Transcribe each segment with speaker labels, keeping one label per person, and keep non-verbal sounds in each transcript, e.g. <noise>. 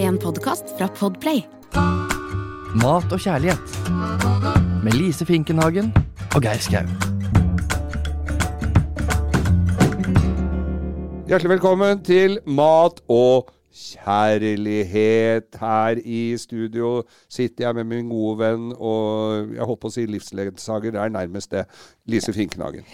Speaker 1: En podkast fra Podplay.
Speaker 2: Mat og kjærlighet. Med Lise Finkenhagen og Geir Skau.
Speaker 3: Hjertelig velkommen til Mat og kjærlighet. Her i studio sitter jeg med min gode venn og jeg holdt på å si livsledsager. Det er nærmest det. Lise Finknagen.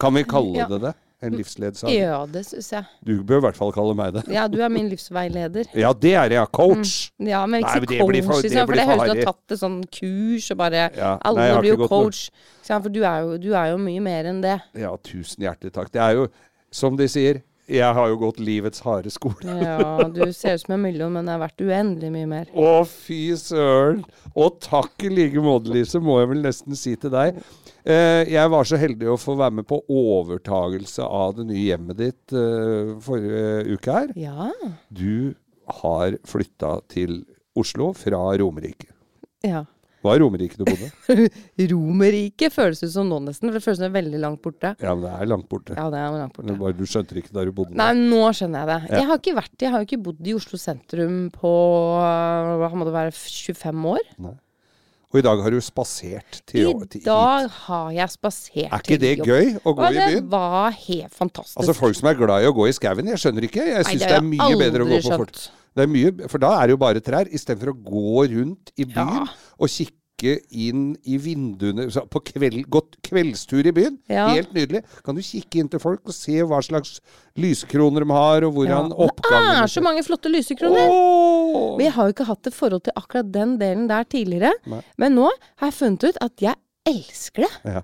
Speaker 3: Kan vi kalle
Speaker 4: Ja.
Speaker 3: det det? En livsledsager?
Speaker 4: Ja, det syns jeg.
Speaker 3: Du bør i hvert fall kalle meg det.
Speaker 4: Ja, du er min livsveileder.
Speaker 3: Ja, det er jeg. Coach.
Speaker 4: Ja, men
Speaker 3: Nei, men
Speaker 4: ikke si
Speaker 3: det blir
Speaker 4: coach,
Speaker 3: for-
Speaker 4: for,
Speaker 3: det
Speaker 4: liksom, for
Speaker 3: blir
Speaker 4: det
Speaker 3: for
Speaker 4: høres ut som
Speaker 3: harry.
Speaker 4: du har tatt et sånn kurs og bare
Speaker 3: Ja. Nei,
Speaker 4: Alle
Speaker 3: jeg har
Speaker 4: blir
Speaker 3: ikke
Speaker 4: jo
Speaker 3: gått noe-
Speaker 4: coach. Ikke sant? For du er, jo, du er jo mye mer enn det.
Speaker 3: Ja, tusen hjertelig takk. Det er jo, som de sier, jeg har jo gått livets harde skole.
Speaker 4: Ja, du ser ut som en million, men jeg har vært uendelig mye mer.
Speaker 3: Å, fy søren. Og takk i like måte, Lise, må jeg vel nesten si til deg. Eh, jeg var så heldig å få være med på overtagelse av det nye hjemmet ditt eh, forrige uke her.
Speaker 4: Ja.
Speaker 3: Du har flytta til Oslo fra Romerike.
Speaker 4: ja.
Speaker 3: Var Romerike du bodde?
Speaker 4: Romerriket føles ut som nå nesten, for det føles som veldig langt borte.
Speaker 3: Ja, men det er langt borte.
Speaker 4: Ja, det er jo langt
Speaker 3: Men
Speaker 4: borte.
Speaker 3: bare Du skjønte det ikke da du bodde
Speaker 4: Nei,
Speaker 3: der.
Speaker 4: nå skjønner jeg det.
Speaker 3: Ja.
Speaker 4: Jeg har ikke vært, jeg har jo ikke bodd i Oslo sentrum på hva må det være, 25 år.
Speaker 3: Og i dag har du spasert til,
Speaker 4: I
Speaker 3: til hit.
Speaker 4: dag har jeg spasert
Speaker 3: Er ikke det
Speaker 4: til jobb.
Speaker 3: gøy å gå
Speaker 4: Og
Speaker 3: i
Speaker 4: det
Speaker 3: byen?
Speaker 4: var helt fantastisk.
Speaker 3: Altså Folk som er glad i å gå i skauen, jeg skjønner ikke. Jeg
Speaker 4: Nei,
Speaker 3: syns det
Speaker 4: det
Speaker 3: er
Speaker 4: har
Speaker 3: mye
Speaker 4: jeg
Speaker 3: bedre å gå
Speaker 4: aldri
Speaker 3: på fort.
Speaker 4: skjønt.
Speaker 3: Det er mye, for da er det jo bare trær, istedenfor å gå rundt i byen
Speaker 4: Ja.
Speaker 3: og kikke inn i vinduene så På kveld, gått kveldstur i byen,
Speaker 4: Ja.
Speaker 3: helt nydelig. Kan du kikke inn til folk og se hva slags lyskroner de har, og
Speaker 4: Ja.
Speaker 3: hvordan
Speaker 4: Det
Speaker 3: oppgangen liksom?
Speaker 4: er så mange flotte lysekroner.
Speaker 3: Åh!
Speaker 4: Men jeg har jo ikke hatt et forhold til akkurat den delen der tidligere.
Speaker 3: Nei.
Speaker 4: Men nå har jeg funnet ut at jeg elsker det.
Speaker 3: Ja.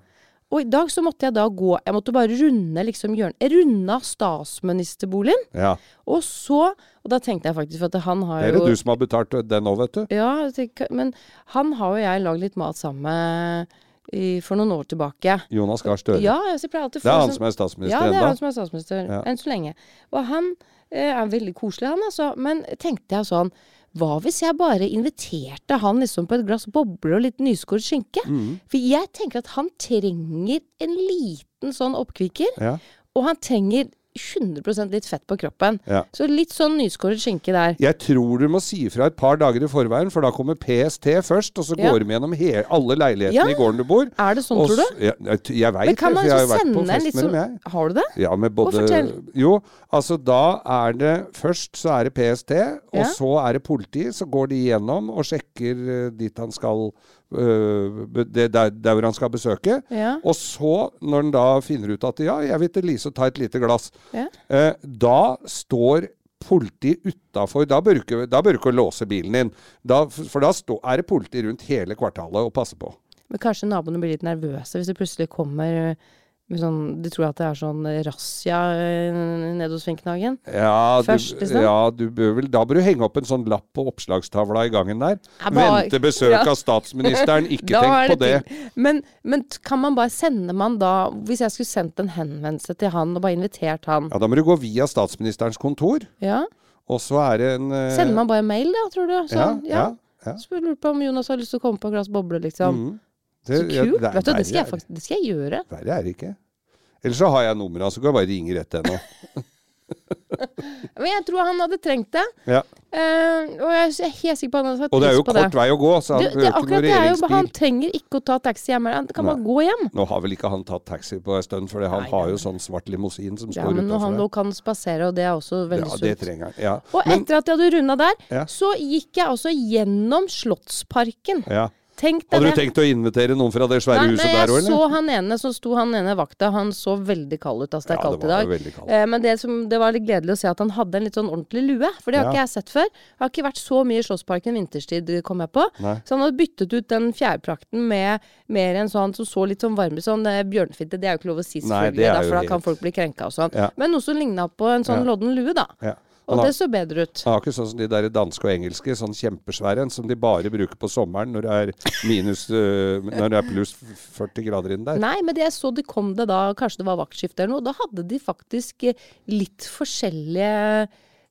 Speaker 4: Og i dag så måtte jeg da gå Jeg måtte bare runde liksom hjørnet. Jeg runda statsministerboligen.
Speaker 3: Ja.
Speaker 4: Og så Og da tenkte jeg faktisk, for at han har
Speaker 3: Det er
Speaker 4: jo
Speaker 3: det du som har betalt den òg, vet du.
Speaker 4: Ja, jeg tenker- men han har jo jeg lagd litt mat sammen med i, for noen år tilbake.
Speaker 3: Jonas Gahr Støre.
Speaker 4: Ja, altså, jeg pleier alltid å
Speaker 3: det
Speaker 4: få
Speaker 3: er han
Speaker 4: sånn-
Speaker 3: som er
Speaker 4: ja,
Speaker 3: statsminister
Speaker 4: det er han
Speaker 3: ennå.
Speaker 4: som er statsminister,
Speaker 3: Ja.
Speaker 4: enn så lenge. Og han eh, er veldig koselig, han altså. Men tenkte jeg sånn, hva hvis jeg bare inviterte han liksom på et glass boble og litt nyskåret skinke?
Speaker 3: Mm.
Speaker 4: For jeg tenker at han trenger en liten sånn oppkvikker,
Speaker 3: Ja.
Speaker 4: og han trenger 100 litt fett på kroppen.
Speaker 3: Ja.
Speaker 4: Så litt sånn nyskåret skinke der.
Speaker 3: Jeg tror du må si ifra et par dager i forveien, for da kommer PST først, og så
Speaker 4: Ja.
Speaker 3: går de gjennom he alle leilighetene
Speaker 4: Ja.
Speaker 3: i gården du bor.
Speaker 4: Er det sånn,
Speaker 3: Og
Speaker 4: tror du?
Speaker 3: s- Ja, jeg t- jeg veit
Speaker 4: Men
Speaker 3: det,
Speaker 4: kan
Speaker 3: for
Speaker 4: man
Speaker 3: jeg har jo
Speaker 4: liksom
Speaker 3: vært på
Speaker 4: sende en
Speaker 3: fest
Speaker 4: litt
Speaker 3: med dem,
Speaker 4: sånn
Speaker 3: jeg.
Speaker 4: Har du det?
Speaker 3: Ja, med både
Speaker 4: fortell.
Speaker 3: Jo, altså da er det Først så er det PST, og
Speaker 4: Ja.
Speaker 3: så er det politi. Så går de gjennom og sjekker eh, dit han skal øh, be- det, der, der hvor han skal besøke.
Speaker 4: Ja.
Speaker 3: Og så, når han da finner ut at ja, jeg vil til Lise og ta et lite glass,
Speaker 4: Ja.
Speaker 3: eh, da står Politiet utafor Da bør du ikke da bør du ikke låse bilen din. Da, for da stå, er det politi rundt hele kvartalet og passer på.
Speaker 4: Men kanskje naboene blir litt nervøse hvis det plutselig kommer eh, med sånn, De tror at det er sånn razzia eh, nede hos Finknagen.
Speaker 3: Ja,
Speaker 4: Først,
Speaker 3: du,
Speaker 4: liksom?
Speaker 3: ja du bør vel, da bør du henge opp en sånn lapp på oppslagstavla i gangen der.
Speaker 4: Ja, bare-
Speaker 3: Vente besøk
Speaker 4: Ja.
Speaker 3: av statsministeren, ikke
Speaker 4: <laughs> Da
Speaker 3: tenk
Speaker 4: er
Speaker 3: på det.
Speaker 4: til. Men, men t- kan man bare sende man da Hvis jeg skulle sendt en henvendelse til han og bare invitert han
Speaker 3: Ja, Da må du gå via statsministerens kontor,
Speaker 4: Ja?
Speaker 3: og så er det en eh,
Speaker 4: Sender man bare mail, da, tror du? Sånn,
Speaker 3: ja,
Speaker 4: ja.
Speaker 3: ja, ja.
Speaker 4: Så jeg lurer på om Jonas har lyst til å komme på et glass boble, liksom.
Speaker 3: Mhm.
Speaker 4: Så
Speaker 3: ja,
Speaker 4: kult!
Speaker 3: er-
Speaker 4: Vet du, det skal jeg
Speaker 3: verre er-
Speaker 4: faktisk det skal jeg gjøre.
Speaker 3: Verre er det ikke. Eller så har jeg nummeret, så kan jeg bare ringe rett til
Speaker 4: <laughs>
Speaker 3: henne.
Speaker 4: Men jeg tror han hadde trengt det.
Speaker 3: Ja.
Speaker 4: eh, og jeg er helt sikker på at han hadde satt
Speaker 3: Og det er jo
Speaker 4: pris på
Speaker 3: kort
Speaker 4: det.
Speaker 3: vei å gå, så han
Speaker 4: Du, det,
Speaker 3: behøver ikke
Speaker 4: akkurat
Speaker 3: noe
Speaker 4: det er jo, bare- han
Speaker 3: regjeringsbil.
Speaker 4: trenger ikke å ta taxi hjem. Han kan bare
Speaker 3: Nei.
Speaker 4: gå hjem.
Speaker 3: Nå har vel ikke han tatt taxi på en stund, for han
Speaker 4: Nei,
Speaker 3: har
Speaker 4: nei,
Speaker 3: jo sånn svart limousin som
Speaker 4: Ja,
Speaker 3: står
Speaker 4: men når han
Speaker 3: utafor
Speaker 4: nå
Speaker 3: der.
Speaker 4: kan spasere, og det er også veldig
Speaker 3: Ja, det
Speaker 4: sunt.
Speaker 3: trenger han. Ja.
Speaker 4: Og
Speaker 3: Men-
Speaker 4: etter at jeg hadde runda der,
Speaker 3: Ja.
Speaker 4: så gikk jeg også gjennom Slottsparken.
Speaker 3: ja.
Speaker 4: Tenk deg
Speaker 3: Hadde du
Speaker 4: det.
Speaker 3: tenkt å invitere noen fra det svære
Speaker 4: Nei, men
Speaker 3: huset der òg,
Speaker 4: jeg
Speaker 3: eller?
Speaker 4: så han ene, så sto han ene vakta, han så veldig kald ut. Altså, det
Speaker 3: Ja,
Speaker 4: er
Speaker 3: det
Speaker 4: kaldt i
Speaker 3: var
Speaker 4: dag.
Speaker 3: jo veldig kaldt.
Speaker 4: Eh, men det, som, det var litt gledelig å se at han hadde en litt sånn ordentlig lue, for det har
Speaker 3: Ja.
Speaker 4: ikke jeg sett før. Jeg har ikke vært så mye i Slottsparken vinterstid, kom jeg på.
Speaker 3: Nei.
Speaker 4: Så han hadde byttet ut den fjærprakten med mer en sånn som så litt sånn varmere, sånn eh, bjørnfitte. Det er jo ikke lov å si,
Speaker 3: Nei,
Speaker 4: selvfølgelig,
Speaker 3: det er
Speaker 4: da,
Speaker 3: jo
Speaker 4: for da
Speaker 3: helt-
Speaker 4: kan folk bli krenka og sånn.
Speaker 3: Ja.
Speaker 4: Men noe som ligna på en sånn
Speaker 3: Ja.
Speaker 4: lodden lue, da.
Speaker 3: Ja. Han
Speaker 4: Og
Speaker 3: har,
Speaker 4: det så bedre ut.
Speaker 3: han har ikke sånn som de der danske og engelske, sånn kjempesvære en som de bare bruker på sommeren når det er, minus, øh, når det er pluss 40 grader inne der.
Speaker 4: Nei, men det jeg så de kom det da, kanskje det var vaktskifte eller noe, da hadde de faktisk eh, litt forskjellige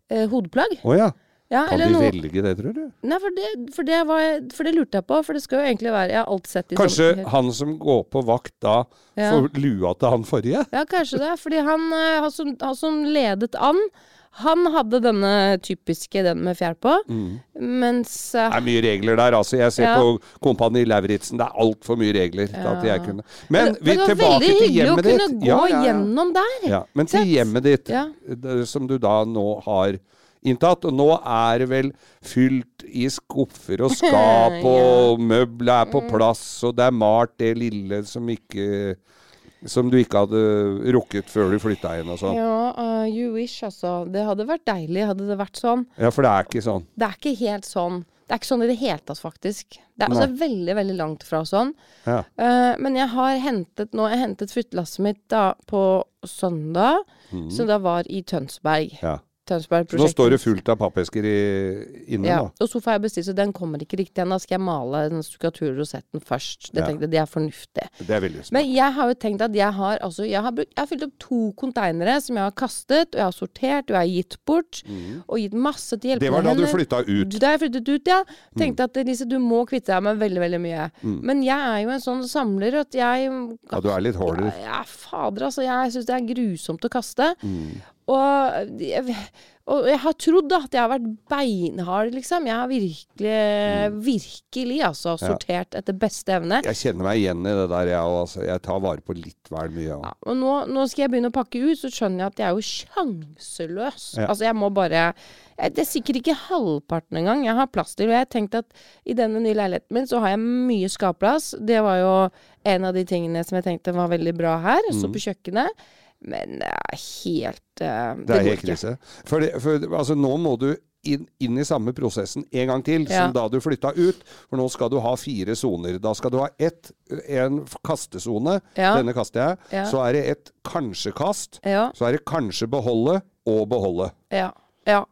Speaker 4: eh, hodeplagg.
Speaker 3: Å ja.
Speaker 4: Ja,
Speaker 3: Kan
Speaker 4: eller
Speaker 3: de
Speaker 4: noe.
Speaker 3: velge det, tror du?
Speaker 4: Nei, for det, for, det var, jeg- for det lurte jeg på, for det skal jo egentlig være Jeg har alt sett i
Speaker 3: Kanskje
Speaker 4: sånn
Speaker 3: han som går på vakt da,
Speaker 4: Ja.
Speaker 3: får lua til han forrige?
Speaker 4: Ja, kanskje det. Fordi han, eh, han, som, han som ledet an, Han hadde denne typiske, den med fjær på,
Speaker 3: Mm.
Speaker 4: mens eh,
Speaker 3: Det er mye regler der, altså. Jeg ser
Speaker 4: Ja.
Speaker 3: på Kompani Lauritzen. Det er altfor mye regler til at jeg kunne Men,
Speaker 4: det-
Speaker 3: vi,
Speaker 4: det var
Speaker 3: tilbake
Speaker 4: veldig
Speaker 3: til
Speaker 4: hyggelig å
Speaker 3: hjemmet ditt.
Speaker 4: kunne gå gjennom der.
Speaker 3: Ja, men til
Speaker 4: Sett.
Speaker 3: hjemmet ditt,
Speaker 4: Ja.
Speaker 3: det- som du da nå har inntatt. Og nå er det vel fylt i skuffer og skap, og møbler er på plass, og det er malt det lille som ikke som du ikke hadde rukket før du flytta inn og sånn.
Speaker 4: Ja, eh, you wish, altså. Det hadde vært deilig hadde det vært sånn.
Speaker 3: Ja, for det er ikke sånn.
Speaker 4: Det er ikke helt sånn. Det er ikke sånn i det hele tatt, faktisk. Det er altså veldig, veldig langt fra sånn.
Speaker 3: Ja.
Speaker 4: Eh, men jeg har hentet nå Jeg hentet flyttelasset mitt da på søndag, som da var i Tønsberg.
Speaker 3: Mhm. ja.
Speaker 4: Tønsberg
Speaker 3: Så nå står det fullt av pappesker i, inne,
Speaker 4: Ja,
Speaker 3: da.
Speaker 4: og sofa har jeg bestilt, så den kommer ikke riktig ennå. Skal jeg male den stukaturrosetten først? Det
Speaker 3: Ja.
Speaker 4: tenkte jeg, det er fornuftig.
Speaker 3: Det er veldig smart.
Speaker 4: Men jeg har jo tenkt at jeg har altså, jeg har, brukt, jeg har fylt opp to konteinere som jeg har kastet, og jeg har sortert, og jeg har gitt bort. Og gitt masse til
Speaker 3: Mhm. Det
Speaker 4: hjelpende
Speaker 3: var da du
Speaker 4: hender.
Speaker 3: flytta ut. Mm.
Speaker 4: Da jeg flyttet ut, ja. Tenkte at Lise, du må kvitte deg med veldig, veldig mye. Men jeg er jo en sånn samler at jeg
Speaker 3: Ja, du er litt hoarder.
Speaker 4: ja, fader, altså. Jeg syns det er grusomt å kaste.
Speaker 3: Mm.
Speaker 4: Og, jeg, og jeg har trodd da, at jeg har vært beinhard, liksom. Jeg har virkelig,
Speaker 3: Mm.
Speaker 4: virkelig altså, sortert etter beste evne.
Speaker 3: Jeg kjenner meg igjen i det der, jeg òg. Altså. Jeg tar vare på litt vel mye. Ja.
Speaker 4: Ja, og nå, nå skal jeg begynne å pakke ut, så skjønner jeg at jeg er jo sjanseløs.
Speaker 3: Ja.
Speaker 4: Altså, jeg må bare jeg, Det er sikkert ikke halvparten engang jeg har plass til. Og jeg har tenkt at i denne nye leiligheten min så har jeg mye skapplass. Det var jo en av de tingene som jeg tenkte var veldig bra her. Så på kjøkkenet. Men det er helt eh,
Speaker 3: Mm. Det er
Speaker 4: går
Speaker 3: helt
Speaker 4: ikke.
Speaker 3: krise. For, det, for altså, nå må du inn, inn i samme prosessen en gang til
Speaker 4: Ja.
Speaker 3: som da du flytta ut. For nå skal du ha fire soner. Da skal du ha ett, en f- kastesone.
Speaker 4: Ja.
Speaker 3: Denne kaster jeg.
Speaker 4: Ja.
Speaker 3: Så er det et kanskje-kast.
Speaker 4: Ja.
Speaker 3: Så er det kanskje beholde og beholde.
Speaker 4: Ja. ja.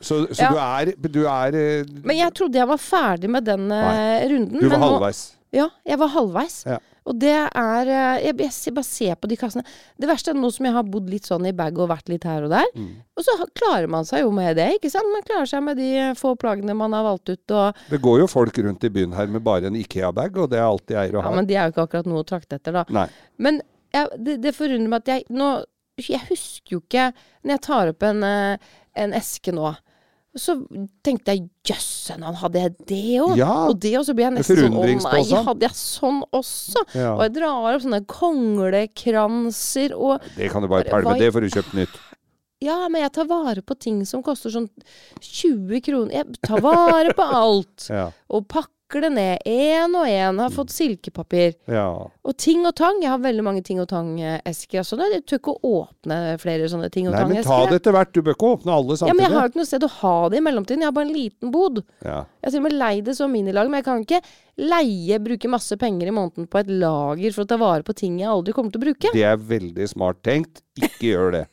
Speaker 3: Så, så du er, du er eh,
Speaker 4: Men jeg trodde jeg var ferdig med den eh,
Speaker 3: Nei.
Speaker 4: runden.
Speaker 3: Du var
Speaker 4: men nå-
Speaker 3: halvveis.
Speaker 4: Ja, jeg var halvveis.
Speaker 3: Ja.
Speaker 4: Og det er eh, Jeg, jeg ser- bare ser på de kassene. Det verste er nå som jeg har bodd litt sånn i bag og vært litt her og der,
Speaker 3: Mm.
Speaker 4: og så ha- klarer man seg jo med det, ikke sant? Man klarer seg med de eh, få plagene man har valgt ut, og
Speaker 3: Det går jo folk rundt i byen her med bare en Ikea-bag, og det er alt de eier og
Speaker 4: Ja,
Speaker 3: har.
Speaker 4: men de er jo ikke akkurat noe å trakte etter, da.
Speaker 3: Nei.
Speaker 4: Men jeg, det, det forundrer meg at jeg nå Jeg husker jo ikke Når jeg tar opp en, eh, en eske nå, så tenkte jeg jøssen, han hadde jeg det òg?
Speaker 3: Ja.
Speaker 4: Og det, og så blir jeg
Speaker 3: Det
Speaker 4: nesten sånn Å nei,
Speaker 3: forundringspåse.
Speaker 4: hadde jeg sånn også?
Speaker 3: Ja.
Speaker 4: Og jeg drar opp sånne konglekranser og
Speaker 3: Det kan du bare
Speaker 4: Bare
Speaker 3: pælme.
Speaker 4: hva i-
Speaker 3: Det får du kjøpt nytt.
Speaker 4: Ja, men jeg tar vare på ting som koster sånn 20 kroner. Jeg tar vare på alt.
Speaker 3: <laughs> Ja.
Speaker 4: Og pakker det ned én og én. Har fått silkepapir.
Speaker 3: ja.
Speaker 4: Og ting og tang. Jeg har veldig mange ting og tang-esker. Altså, jeg tør ikke å åpne flere sånne ting og
Speaker 3: Nei, men ta
Speaker 4: tang-esker.
Speaker 3: det etter hvert. Du bør ikke åpne alle
Speaker 4: Ja, men
Speaker 3: samtidig.
Speaker 4: jeg har jo ikke noe sted å ha det i mellomtiden. Jeg har bare en liten bod.
Speaker 3: Ja.
Speaker 4: Jeg har til og med leid det som minilag, men jeg kan ikke leie, bruke masse penger i måneden på et lager for å ta vare på ting jeg aldri kommer til å bruke.
Speaker 3: Det er veldig smart tenkt. Ikke gjør
Speaker 4: <laughs>
Speaker 3: det.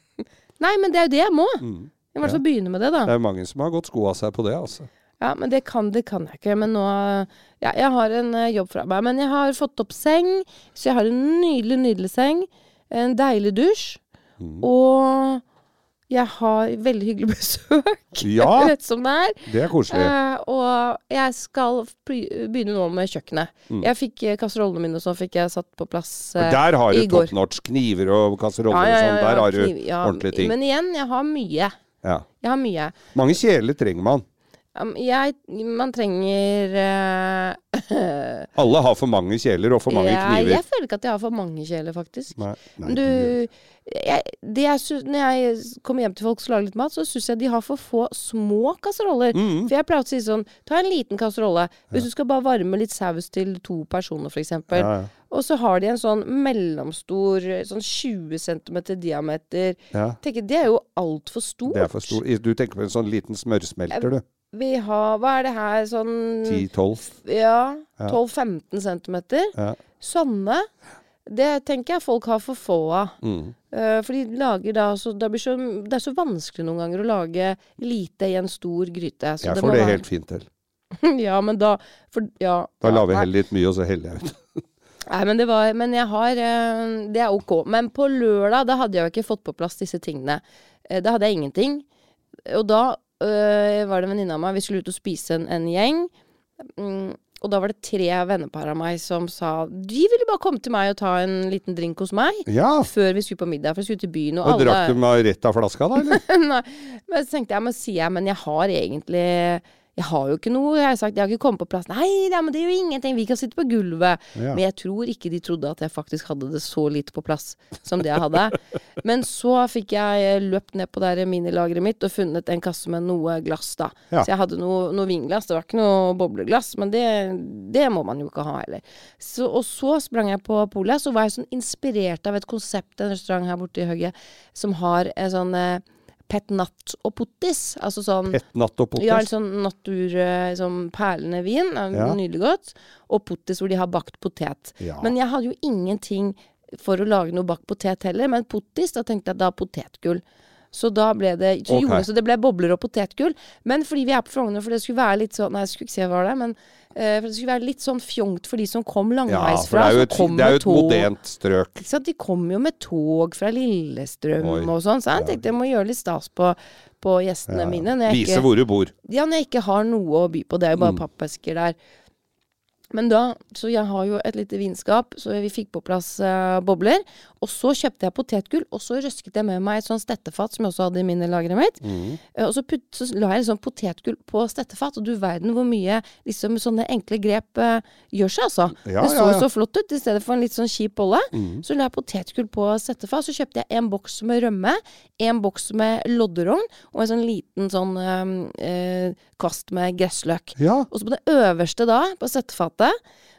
Speaker 4: Nei, men det er jo det jeg må. Jeg må i hvert fall begynne med det, da.
Speaker 3: Det er mange som har gått sko av seg på det, altså.
Speaker 4: Ja, men det kan, det kan jeg ikke. Men nå ja, Jeg har en eh, jobb fra meg. Men jeg har fått opp seng, så jeg har en nydelig, nydelig seng. En deilig dusj.
Speaker 3: Mm.
Speaker 4: Og jeg har veldig hyggelig <laughs> besøk,
Speaker 3: Ja.
Speaker 4: rett som det er.
Speaker 3: Det er koselig.
Speaker 4: Eh, og jeg skal pry- begynne nå med kjøkkenet.
Speaker 3: Mm.
Speaker 4: Jeg fikk eh, kasserollene mine og sånn fikk jeg satt på plass eh,
Speaker 3: For der har du
Speaker 4: i går.
Speaker 3: top notch. Kniver og kasseroller og sånn. Der har du
Speaker 4: kniv- ja,
Speaker 3: ordentlige ting.
Speaker 4: Men igjen, jeg har mye.
Speaker 3: Ja.
Speaker 4: Jeg har mye.
Speaker 3: Mange kjeler trenger man.
Speaker 4: Um, jeg, man trenger eh,
Speaker 3: Alle har for mange kjeler og for mange
Speaker 4: jeg,
Speaker 3: kniver.
Speaker 4: Jeg føler ikke at jeg har for mange kjeler, faktisk.
Speaker 3: Nei, nei,
Speaker 4: du, jeg, det jeg sy- når jeg s- kommer hjem til folk som lager litt mat, så syns jeg de har for få små kasseroller.
Speaker 3: Mm.
Speaker 4: For jeg pleier å si sånn Ta en liten kasserolle. Hvis du skal bare varme litt saus til to personer, f.eks. eksempel
Speaker 3: Ja, ja.
Speaker 4: Og så har de en sånn mellomstor, sånn 20 cm diameter.
Speaker 3: Ja.
Speaker 4: Tenker, det er jo altfor stort.
Speaker 3: Det er for stor. Du tenker på en sånn liten smørsmelter, du.
Speaker 4: Vi har Hva er det her? Sånn
Speaker 3: 10-12.
Speaker 4: Ja. 12-15 cm.
Speaker 3: Ja.
Speaker 4: Sånne. Det tenker jeg folk har for få av.
Speaker 3: Mm.
Speaker 4: Eh, for de lager da, så, da blir så, Det er så vanskelig noen ganger å lage lite i en stor gryte. Så
Speaker 3: Jeg
Speaker 4: må
Speaker 3: får det
Speaker 4: være-
Speaker 3: helt fint til.
Speaker 4: <laughs> ja, men da for, ja,
Speaker 3: Da
Speaker 4: ja,
Speaker 3: lager jeg
Speaker 4: nei.
Speaker 3: heller litt mye, og så heller
Speaker 4: <laughs>
Speaker 3: jeg ut.
Speaker 4: Nei, men det var Men jeg har eh, Det er ok. Men på lørdag, da hadde jeg jo ikke fått på plass disse tingene. Eh, da hadde jeg ingenting. Og da eh, var det en venninne av meg, vi skulle ut og spise en, en gjeng. Mm, Og da var det tre vennepar av meg som sa de ville bare komme til meg og ta en liten drink hos meg.
Speaker 3: Ja.
Speaker 4: Før vi skulle på middag, for vi skulle til byen. Og,
Speaker 3: Og
Speaker 4: alle,
Speaker 3: drakk du meg rett av flaska, da? eller?
Speaker 4: <laughs> Nei, men så tenkte jeg, men sier jeg, men jeg har egentlig Jeg har jo ikke noe. Jeg har sagt, jeg har ikke kommet på plass. Nei, nei, men det er jo ingenting. Vi kan sitte på gulvet.
Speaker 3: Ja.
Speaker 4: Men jeg tror ikke de trodde at jeg faktisk hadde det så lite på plass som det jeg
Speaker 3: <laughs>
Speaker 4: hadde. men så fikk jeg eh, løpt ned på det her minilageret mitt og funnet en kasse med noe glass, da.
Speaker 3: Ja.
Speaker 4: Så jeg hadde noe, noe vinglass. Det var ikke noe bobleglass, men det, det må man jo ikke ha heller. Så, og så sprang jeg på polet. Så var jeg sånn inspirert av et konsept, en restaurant her borte i høyet, som har en sånn eh, Pet natt og pottis. Altså sånn
Speaker 3: Et natt og
Speaker 4: ja, en
Speaker 3: potet?
Speaker 4: sånn natur, eh, sånn perlende vin. eh,
Speaker 3: Ja.
Speaker 4: Nydelig godt. Og pottis hvor de har bakt potet.
Speaker 3: Ja.
Speaker 4: Men jeg hadde jo ingenting for å lage noe bakt potet heller, men pottis, da tenkte jeg da potetgull. Så da ble det så
Speaker 3: Ok.
Speaker 4: gjorde jeg så det ble bobler og potetgull. Men fordi vi er på Frogner, for det skulle være litt sånn Nei, jeg skulle ikke se hva det er, men eh, for det skulle være litt sånn fjongt for de som kom
Speaker 3: Ja, for
Speaker 4: langveisfra.
Speaker 3: det er jo
Speaker 4: som
Speaker 3: et,
Speaker 4: kom
Speaker 3: det er
Speaker 4: med
Speaker 3: jo et
Speaker 4: tog.
Speaker 3: modent strøk.
Speaker 4: Ikke sant? De kom jo med tog fra Lillestrøm
Speaker 3: Oi.
Speaker 4: og sånn, så jeg tenkte jeg må gjøre litt stas på, på gjestene mine. Når jeg
Speaker 3: Vise
Speaker 4: ikke,
Speaker 3: hvor du bor.
Speaker 4: ja, når jeg ikke har noe å by på. Det er
Speaker 3: Mm.
Speaker 4: jo bare pappesker der. Men da, Så jeg har jo et lite vinskap, så vi fikk på plass eh, bobler. Og så kjøpte jeg potetgull, og så røsket jeg med meg et sånn stettefat som jeg også hadde i minelageret mitt.
Speaker 3: Mm.
Speaker 4: Eh, Og så, putt, så la jeg liksom potetgull på stettefat, og du verden hvor mye liksom sånne enkle grep eh, gjør seg, altså.
Speaker 3: Ja,
Speaker 4: det så
Speaker 3: ja,
Speaker 4: jo
Speaker 3: ja.
Speaker 4: så flott ut, i stedet for en litt sånn kjip bolle. Så la jeg potetgull på stettefat, så kjøpte jeg en boks med rømme, en boks med lodderogn, og en sånn liten sånn eh, eh, kvast med gressløk.
Speaker 3: Ja.
Speaker 4: Og så på det øverste da, på settefatet,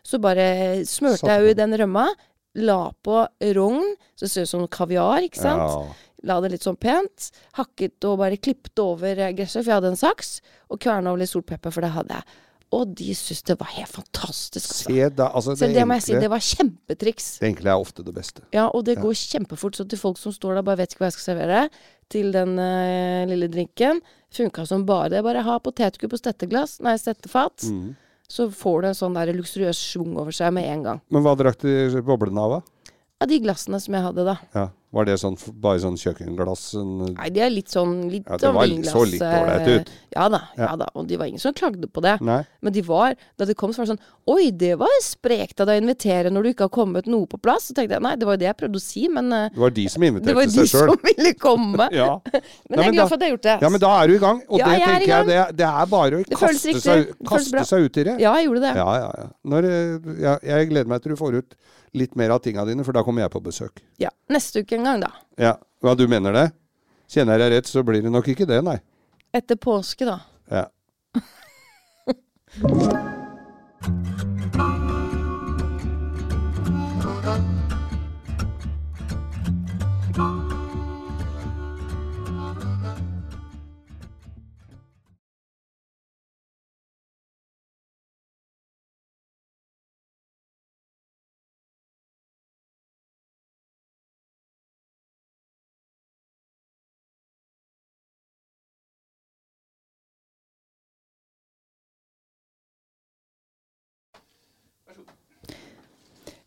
Speaker 4: så bare smørte
Speaker 3: Satte
Speaker 4: jeg jo
Speaker 3: på.
Speaker 4: i den rømma. La på rogn, så det ser ut som kaviar, ikke sant.
Speaker 3: Ja.
Speaker 4: La det litt sånn pent. Hakket og bare klippet over eh, gresset, for jeg hadde en saks. Og kverna over litt solpepper, for det hadde jeg. Og de syntes det var helt fantastisk. Altså.
Speaker 3: Se da, altså
Speaker 4: Så
Speaker 3: det,
Speaker 4: det må
Speaker 3: enkle,
Speaker 4: jeg si, det var kjempetriks.
Speaker 3: det enkle er ofte det beste.
Speaker 4: Ja, og det går kjempefort, så til folk som står der bare vet ikke hva jeg skal servere, til den eh, lille drinken, funka som bare det. Bare ha potetgull på stetteglass, nei, stettefat,
Speaker 3: Mm.
Speaker 4: så får du en sånn der luksuriøs schwung over seg med en gang.
Speaker 3: Men hva drakk de boblene av? da?
Speaker 4: Av de glassene som jeg hadde, da.
Speaker 3: Ja. Var det sånn, f- bare sånn kjøkkenglass? En,
Speaker 4: Nei, de er litt sånn litt eh,
Speaker 3: Ja, det var litt- så litt ålreit ut.
Speaker 4: Ja da, ja da. Og det var ingen som klagde på det.
Speaker 3: Nei.
Speaker 4: Men de var, da de kom, så var det sånn Oi, det var sprekt av deg å invitere når du ikke har kommet noe på plass. Så tenkte jeg nei, det var jo det jeg prøvde å si, men eh,
Speaker 3: det var de som
Speaker 4: det
Speaker 3: inviterte
Speaker 4: var de <laughs>
Speaker 3: seg sjøl.
Speaker 4: som ville komme.
Speaker 3: Ja.
Speaker 4: Men jeg er glad for at jeg har gjort det.
Speaker 3: Ja, men da er du i gang. Og
Speaker 4: Ja,
Speaker 3: det
Speaker 4: jeg er i
Speaker 3: tenker jeg det, det er bare å
Speaker 4: Det føles
Speaker 3: kaste,
Speaker 4: riktig.
Speaker 3: seg,
Speaker 4: Det føles bra.
Speaker 3: kaste seg ut i det.
Speaker 4: Ja, jeg gjorde det.
Speaker 3: ja, ja. ja. Når, eh, ja, jeg gleder meg til du får ut litt mer av tinga dine, for da kommer jeg på besøk.
Speaker 4: Ja. Neste uke en gang, da.
Speaker 3: Ja, Hva du mener det? Kjenner jeg deg rett, så blir det nok ikke det, nei.
Speaker 4: Etter påske, da.
Speaker 3: Ja.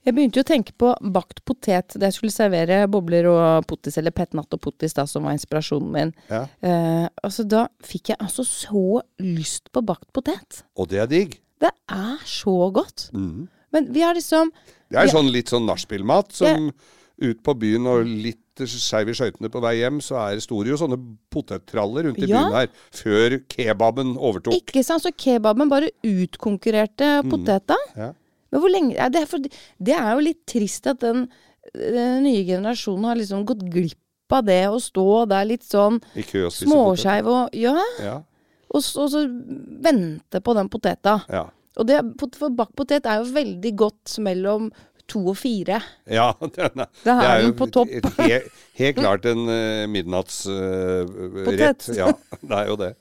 Speaker 4: Jeg begynte jo å tenke på bakt potet da jeg skulle servere bobler og pottis, eller petnatt og pottis, da, som var inspirasjonen min.
Speaker 3: Ja.
Speaker 4: Eh, altså, da fikk jeg altså så lyst på bakt potet.
Speaker 3: Og det er digg. Mhm.
Speaker 4: Det er så godt. Men vi har liksom
Speaker 3: Det er
Speaker 4: Ja.
Speaker 3: sånn litt sånn nachspielmat som ut på byen og litt skeiv i skøytene på vei hjem, så er det store jo sånne potettraller rundt i
Speaker 4: Ja.
Speaker 3: byen her, før kebaben overtok.
Speaker 4: Ikke sant, så kebaben bare utkonkurrerte poteta.
Speaker 3: Mm. Ja.
Speaker 4: Men hvor lenge ja, det, er for, det er jo litt trist at den, den nye generasjonen har liksom gått glipp av det å stå der litt sånn
Speaker 3: I kø og spise potet.
Speaker 4: småskeiv og Ja.
Speaker 3: Ja.
Speaker 4: Og så, og så vente på den poteta.
Speaker 3: Ja.
Speaker 4: Og det, pot- for bakt potet er jo veldig godt mellom to og fire.
Speaker 3: ja <laughs> den er,
Speaker 4: Da er den på topp.
Speaker 3: et he- helt klart en uh, midnattsrett.
Speaker 4: Potet.
Speaker 3: ja, det er jo det.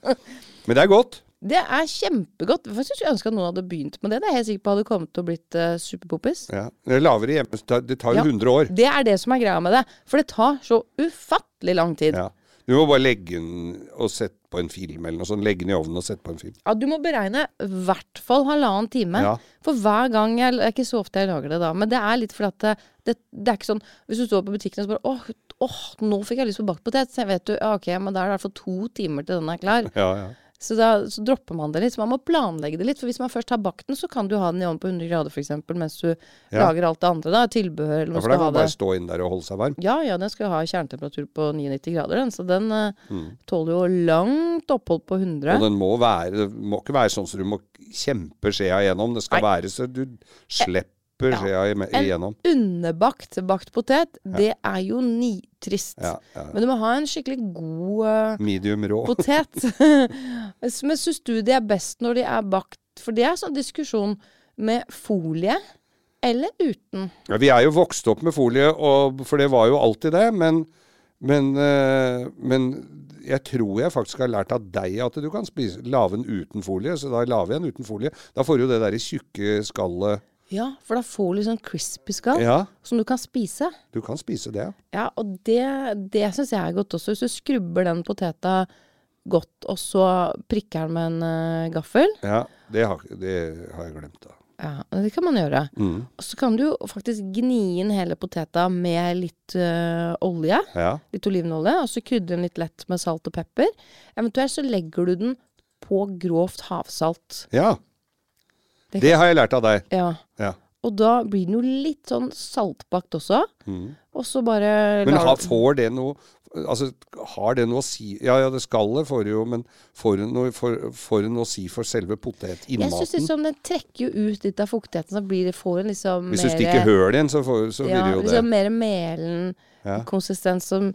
Speaker 3: Men det er godt.
Speaker 4: Det er kjempegodt. Hvorfor skulle jeg ønske at noen hadde begynt med det? Det er jeg helt sikker på hadde kommet til å blitt uh, superpopis.
Speaker 3: Ja. Det er Lavere hjemme, så det tar jo
Speaker 4: Ja.
Speaker 3: 100 år.
Speaker 4: Det er det som er greia med det. For det tar så ufattelig lang tid. Ja,
Speaker 3: Ja. Du må bare legge den og sette på en film eller noe sånt. Legge den i ovnen og sette på en film.
Speaker 4: Du må beregne i hvert fall halvannen time.
Speaker 3: Ja.
Speaker 4: For hver gang jeg Det er ikke så ofte jeg lager det da, men det er litt fordi at det, det, det er ikke sånn Hvis du står på butikken og så bare åh, åh, nå fikk jeg lyst på bakt potet. Så vet du, ja, ok, men da er det i hvert fall to timer til den er klar.
Speaker 3: Ja, ja.
Speaker 4: Så da så dropper man det litt. Så man må planlegge det litt. For hvis man først har bakt den, så kan du ha den i ovnen på 100 grader f.eks. mens du
Speaker 3: Ja.
Speaker 4: lager alt det andre. da, Tilbehør eller
Speaker 3: Ja, for da
Speaker 4: noe. skal
Speaker 3: kan
Speaker 4: ha
Speaker 3: man
Speaker 4: det.
Speaker 3: bare stå inn der og holde seg varm.
Speaker 4: Ja, ja, den skal jo ha kjernetemperatur på 99 grader, den. Så den eh, tåler jo langt opphold på 100.
Speaker 3: Mm. Og den må være, det må ikke være sånn som du må kjempe skjea igjennom. Det skal være så du slipper skjea ime- igjennom.
Speaker 4: underbakt bakt potet, det er jo nitrist.
Speaker 3: Ja, Mm. ja.
Speaker 4: Men du må ha en skikkelig god eh,
Speaker 3: Medium <laughs> rå.
Speaker 4: potet. Men syns du de er best når de er bakt? For det er sånn diskusjon med folie eller uten.
Speaker 3: Ja, vi er jo vokst opp med folie, og, for det var jo alltid det. Men, men, eh, men jeg tror jeg faktisk har lært av deg at du kan spise, lage den uten folie. Så da lager jeg den uten folie. Da får du jo det derre tjukke skallet
Speaker 4: Ja, for da får du litt sånn crispy skall
Speaker 3: Ja,
Speaker 4: som du kan spise.
Speaker 3: du kan spise det.
Speaker 4: Ja, og det, det syns jeg er godt også. Hvis du skrubber den poteta godt, og så prikker den med en eh, gaffel.
Speaker 3: Ja, det har, det har jeg glemt, da.
Speaker 4: Ja, det kan man gjøre.
Speaker 3: Mm.
Speaker 4: Og så kan du jo faktisk gni inn hele poteta med litt øh, olje.
Speaker 3: Ja.
Speaker 4: Litt olivenolje. Og så krydre den litt lett med salt og pepper. Eventuelt så legger du den på grovt havsalt.
Speaker 3: ja.
Speaker 4: Det
Speaker 3: Det har jeg lært av deg.
Speaker 4: Ja.
Speaker 3: Ja.
Speaker 4: Og da blir den jo litt sånn saltbakt også.
Speaker 3: Mm.
Speaker 4: Og så bare
Speaker 3: Men
Speaker 4: lar
Speaker 3: har,
Speaker 4: du-
Speaker 3: får det noe Altså, har det noe å si Ja, ja, det skallet får det jo, men får det noe, får, får det noe å si for selve
Speaker 4: Jeg syns
Speaker 3: potetinnmaten?
Speaker 4: liksom den trekker jo ut litt av fuktigheten, så blir det, får en liksom
Speaker 3: Hvis du
Speaker 4: mere-
Speaker 3: stikker høl i den, så, får, så
Speaker 4: ja,
Speaker 3: blir det jo
Speaker 4: liksom
Speaker 3: det.
Speaker 4: mer melen
Speaker 3: Ja.
Speaker 4: konsistens som,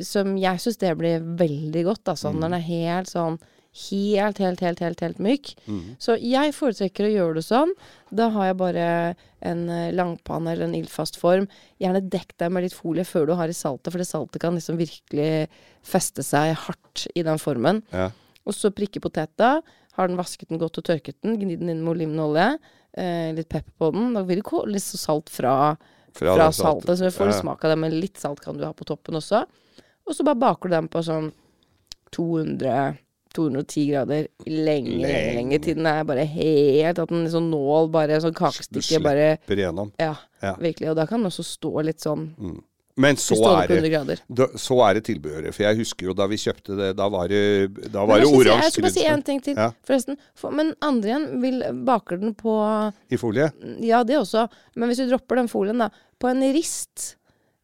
Speaker 4: som jeg syns det blir veldig godt. Da,
Speaker 3: Mm.
Speaker 4: sånn, Den er helt sånn helt, helt, helt, helt, helt myk.
Speaker 3: Mm.
Speaker 4: Så jeg foretrekker å gjøre det sånn. Da har jeg bare en eh, langpanne eller en ildfast form. Gjerne dekk deg med litt folie før du har i saltet, for det saltet kan liksom virkelig feste seg hardt i den formen.
Speaker 3: Ja.
Speaker 4: Og så prikke poteta. Har den vasket den godt og tørket den, gni den inn med olivenolje. Eh, litt pepper på den. Da vil det ikke litt så salt fra, fra,
Speaker 3: det
Speaker 4: saltet. Så du får
Speaker 3: Ja.
Speaker 4: smak av det, men litt salt kan du ha på toppen også. Og så bare baker du den på sånn 200 210 grader lenge, lenge, lenge til den er bare helt At en sånn nål, bare sånn kakestykke,
Speaker 3: slipper
Speaker 4: bare
Speaker 3: igjennom.
Speaker 4: ja,
Speaker 3: Ja.
Speaker 4: virkelig. Og da kan den også stå litt sånn.
Speaker 3: Men så
Speaker 4: Stående på
Speaker 3: er
Speaker 4: 100
Speaker 3: det
Speaker 4: grader.
Speaker 3: da, så er det tilbehøret. For jeg husker jo da vi kjøpte det, da var det, da
Speaker 4: Men
Speaker 3: var det
Speaker 4: jeg skal si- Jeg
Speaker 3: oransje
Speaker 4: skal bare si én
Speaker 3: krydderet
Speaker 4: ting til,
Speaker 3: Ja.
Speaker 4: forresten. For, men andre igjen vil, baker den på
Speaker 3: i folie.
Speaker 4: Ja, det også. Men hvis du dropper den folien, da. På en rist.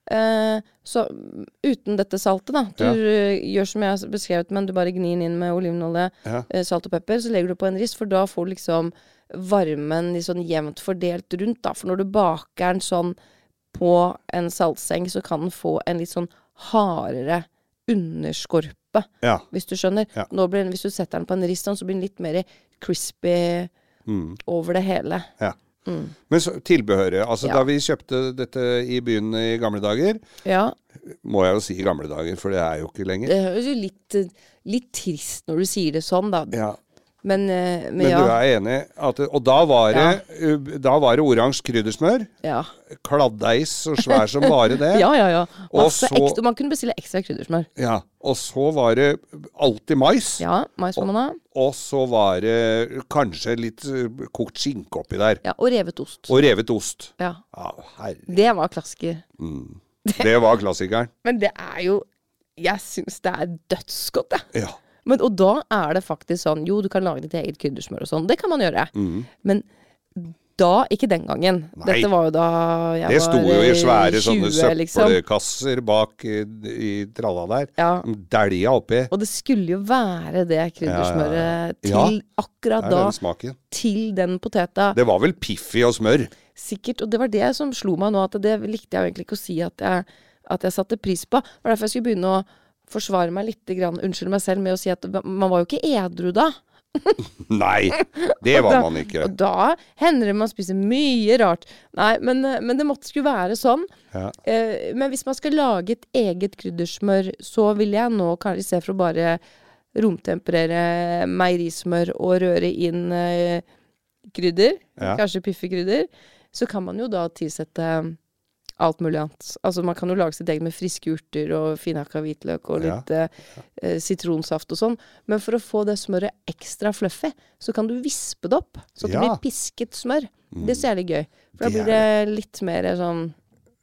Speaker 4: Eh, så mm, uten dette saltet, da. Du
Speaker 3: Ja.
Speaker 4: eh, gjør som jeg har beskrevet, men du bare gnir den inn med olivenolje,
Speaker 3: Ja.
Speaker 4: eh, salt og pepper. Så legger du på en rist, for da får du liksom varmen litt sånn jevnt fordelt rundt, da. For når du baker den sånn på en saltseng, så kan den få en litt sånn hardere underskorpe,
Speaker 3: Ja.
Speaker 4: hvis du skjønner.
Speaker 3: Ja.
Speaker 4: Nå blir den, hvis du setter den på en rist, sånn, så blir den litt mer crispy
Speaker 3: Mm.
Speaker 4: over det hele.
Speaker 3: ja. Men så, tilbehøret. Altså
Speaker 4: Ja.
Speaker 3: da vi kjøpte dette i byen i gamle dager,
Speaker 4: Ja,
Speaker 3: må jeg jo si i gamle dager, for det er jo ikke lenger.
Speaker 4: Det høres jo litt, litt trist når du sier det sånn, da.
Speaker 3: Ja.
Speaker 4: Men, eh, men,
Speaker 3: Men
Speaker 4: ja.
Speaker 3: du er enig? At, og da var det, uh, da var det oransje kryddersmør.
Speaker 4: ja.
Speaker 3: Kladdeis så svær som bare det.
Speaker 4: <laughs> Ja, ja, ja.
Speaker 3: Og
Speaker 4: Masse
Speaker 3: så-
Speaker 4: ekstra, man kunne bestille ekstra kryddersmør.
Speaker 3: Ja. Og så var det alltid mais.
Speaker 4: Ja, mais må man ha.
Speaker 3: Og så var det kanskje litt uh, kokt skinke oppi der.
Speaker 4: Ja, og revet ost.
Speaker 3: Og revet ost.
Speaker 4: Ja.
Speaker 3: Ja, herre.
Speaker 4: Det var klasker.
Speaker 3: Det var klassikeren.
Speaker 4: Men det er jo Jeg syns det er dødsgodt, jeg.
Speaker 3: <laughs> Ja.
Speaker 4: Men, og da er det faktisk sånn Jo, du kan lage ditt eget kryddersmør og sånn. Det kan man gjøre. Men da Ikke den gangen.
Speaker 3: Mhm. Nei.
Speaker 4: Dette var jo da jeg
Speaker 3: Det sto
Speaker 4: var,
Speaker 3: jo i
Speaker 4: eh,
Speaker 3: svære sånne
Speaker 4: 20, liksom.
Speaker 3: søppelkasser bak i, i tralla der.
Speaker 4: Ja.
Speaker 3: Dælja oppi.
Speaker 4: Og det skulle jo være det
Speaker 3: Ja,
Speaker 4: kryddersmøret
Speaker 3: ja, ja.
Speaker 4: til
Speaker 3: Der
Speaker 4: akkurat da.
Speaker 3: er den smaken.
Speaker 4: Til den poteta.
Speaker 3: Det var vel Piffi og smør.
Speaker 4: Sikkert. Og det var det som slo meg nå, at det likte jeg jo egentlig ikke å si at jeg, at jeg satte pris på. Det var derfor jeg skulle begynne å forsvare meg litt, grann, unnskyld meg selv, med å si at man var jo ikke edru da.
Speaker 3: Nei, det var man ikke.
Speaker 4: Og da hender det man spiser mye rart. Nei, men, eh, men det måtte skulle være sånn.
Speaker 3: Ja.
Speaker 4: Eh, men hvis man skal lage et eget kryddersmør, så vil jeg nå kanskje se for å bare romtemperere meierismør og røre inn eh, krydder,
Speaker 3: Ja.
Speaker 4: kanskje piffekrydder, så kan man jo da tilsette alt mulig annet. Altså Man kan jo lage sitt eget med friske urter og finhakka hvitløk og
Speaker 3: Ja.
Speaker 4: litt eh, eh, sitronsaft og sånn. Men for å få det smøret ekstra fluffy, så kan du vispe det opp. Så at det
Speaker 3: Ja.
Speaker 4: blir pisket smør. Det er så jævlig gøy. For da
Speaker 3: Det
Speaker 4: blir det litt mer sånn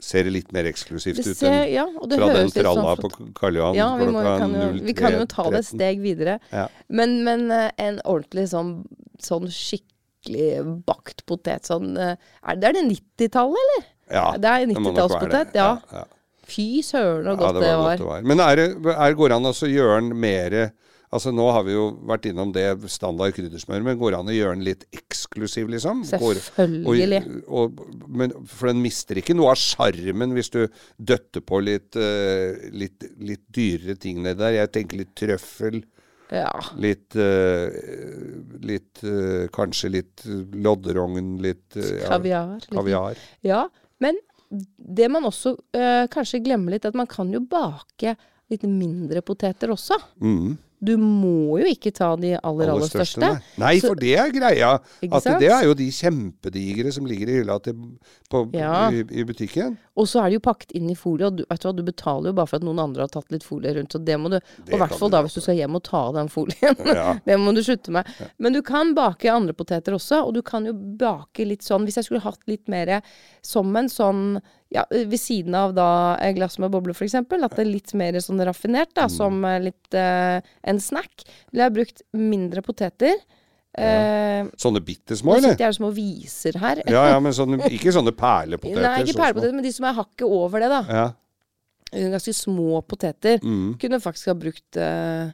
Speaker 3: ser det litt mer eksklusivt
Speaker 4: Det
Speaker 3: ut
Speaker 4: ser,
Speaker 3: enn
Speaker 4: ja, og det
Speaker 3: fra den
Speaker 4: høres litt sånn
Speaker 3: tralla
Speaker 4: flott
Speaker 3: på Karl Johan
Speaker 4: Ja, vi, må, vi,
Speaker 3: klokka
Speaker 4: kan jo, vi kan jo ta det et
Speaker 3: 03.13.
Speaker 4: steg videre.
Speaker 3: Ja.
Speaker 4: Men, men eh, en ordentlig sånn, sånn skikkelig bakt potet sånn eh, Er det, er det 90-tallet, eller?
Speaker 3: Ja,
Speaker 4: Det er
Speaker 3: det må nok være det.
Speaker 4: 90-tallspotet, ja.
Speaker 3: ja, ja.
Speaker 4: Fy søren så
Speaker 3: Ja,
Speaker 4: godt det var.
Speaker 3: det var. Men er det, er, går det an å altså, gjøre den mer Altså Nå har vi jo vært innom det standard kryddersmør, men går det an å gjøre den litt eksklusiv, liksom? Går,
Speaker 4: Selvfølgelig.
Speaker 3: Og, og, men, for den mister ikke noe av sjarmen hvis du døtter på litt, eh, litt, litt dyrere ting nedi der. Jeg tenker litt trøffel.
Speaker 4: Ja.
Speaker 3: Litt, eh, litt eh, Kanskje litt lodderogn, litt eh, ja,
Speaker 4: Kaviar. litt-
Speaker 3: kaviar.
Speaker 4: Ja, men det man også eh, kanskje glemmer litt, at man kan jo bake litt mindre poteter også.
Speaker 3: Mhm.
Speaker 4: Du må jo ikke ta de aller, aller største.
Speaker 3: Nei,
Speaker 4: Så-
Speaker 3: for det er greia.
Speaker 4: Ikke
Speaker 3: At
Speaker 4: sant?
Speaker 3: det er jo de kjempedigre som ligger i hylla til, på,
Speaker 4: Ja.
Speaker 3: i, i butikken.
Speaker 4: Og så er det jo pakket inn i folie, og du, vet du, hva, du betaler jo bare for at noen andre har tatt litt folie rundt. Og det må du, og i hvert
Speaker 3: kan
Speaker 4: fall
Speaker 3: du
Speaker 4: da
Speaker 3: gjøre.
Speaker 4: hvis du skal hjem og ta av den folien.
Speaker 3: Ja.
Speaker 4: det må du slutte med. Men du kan bake andre poteter også, og du kan jo bake litt sånn Hvis jeg skulle hatt litt mer som en sånn ja, ved siden av da et glass med boble, for eksempel, at det er litt mer sånn raffinert,
Speaker 3: Mm.
Speaker 4: da, som eh, litt eh, en snack, ville jeg brukt mindre poteter. Eh,
Speaker 3: Sånne bitte
Speaker 4: nå
Speaker 3: små, eller?
Speaker 4: sitter jeg her som og viser her.
Speaker 3: Ja, ja, men sånne, ikke sånne perlepoteter.
Speaker 4: <laughs> Nei,
Speaker 3: så
Speaker 4: ikke
Speaker 3: små.
Speaker 4: perlepoteter, men de som er hakket over det, da.
Speaker 3: Ja. Mm.
Speaker 4: Eh, ganske små poteter. Kunne faktisk ha brukt eh,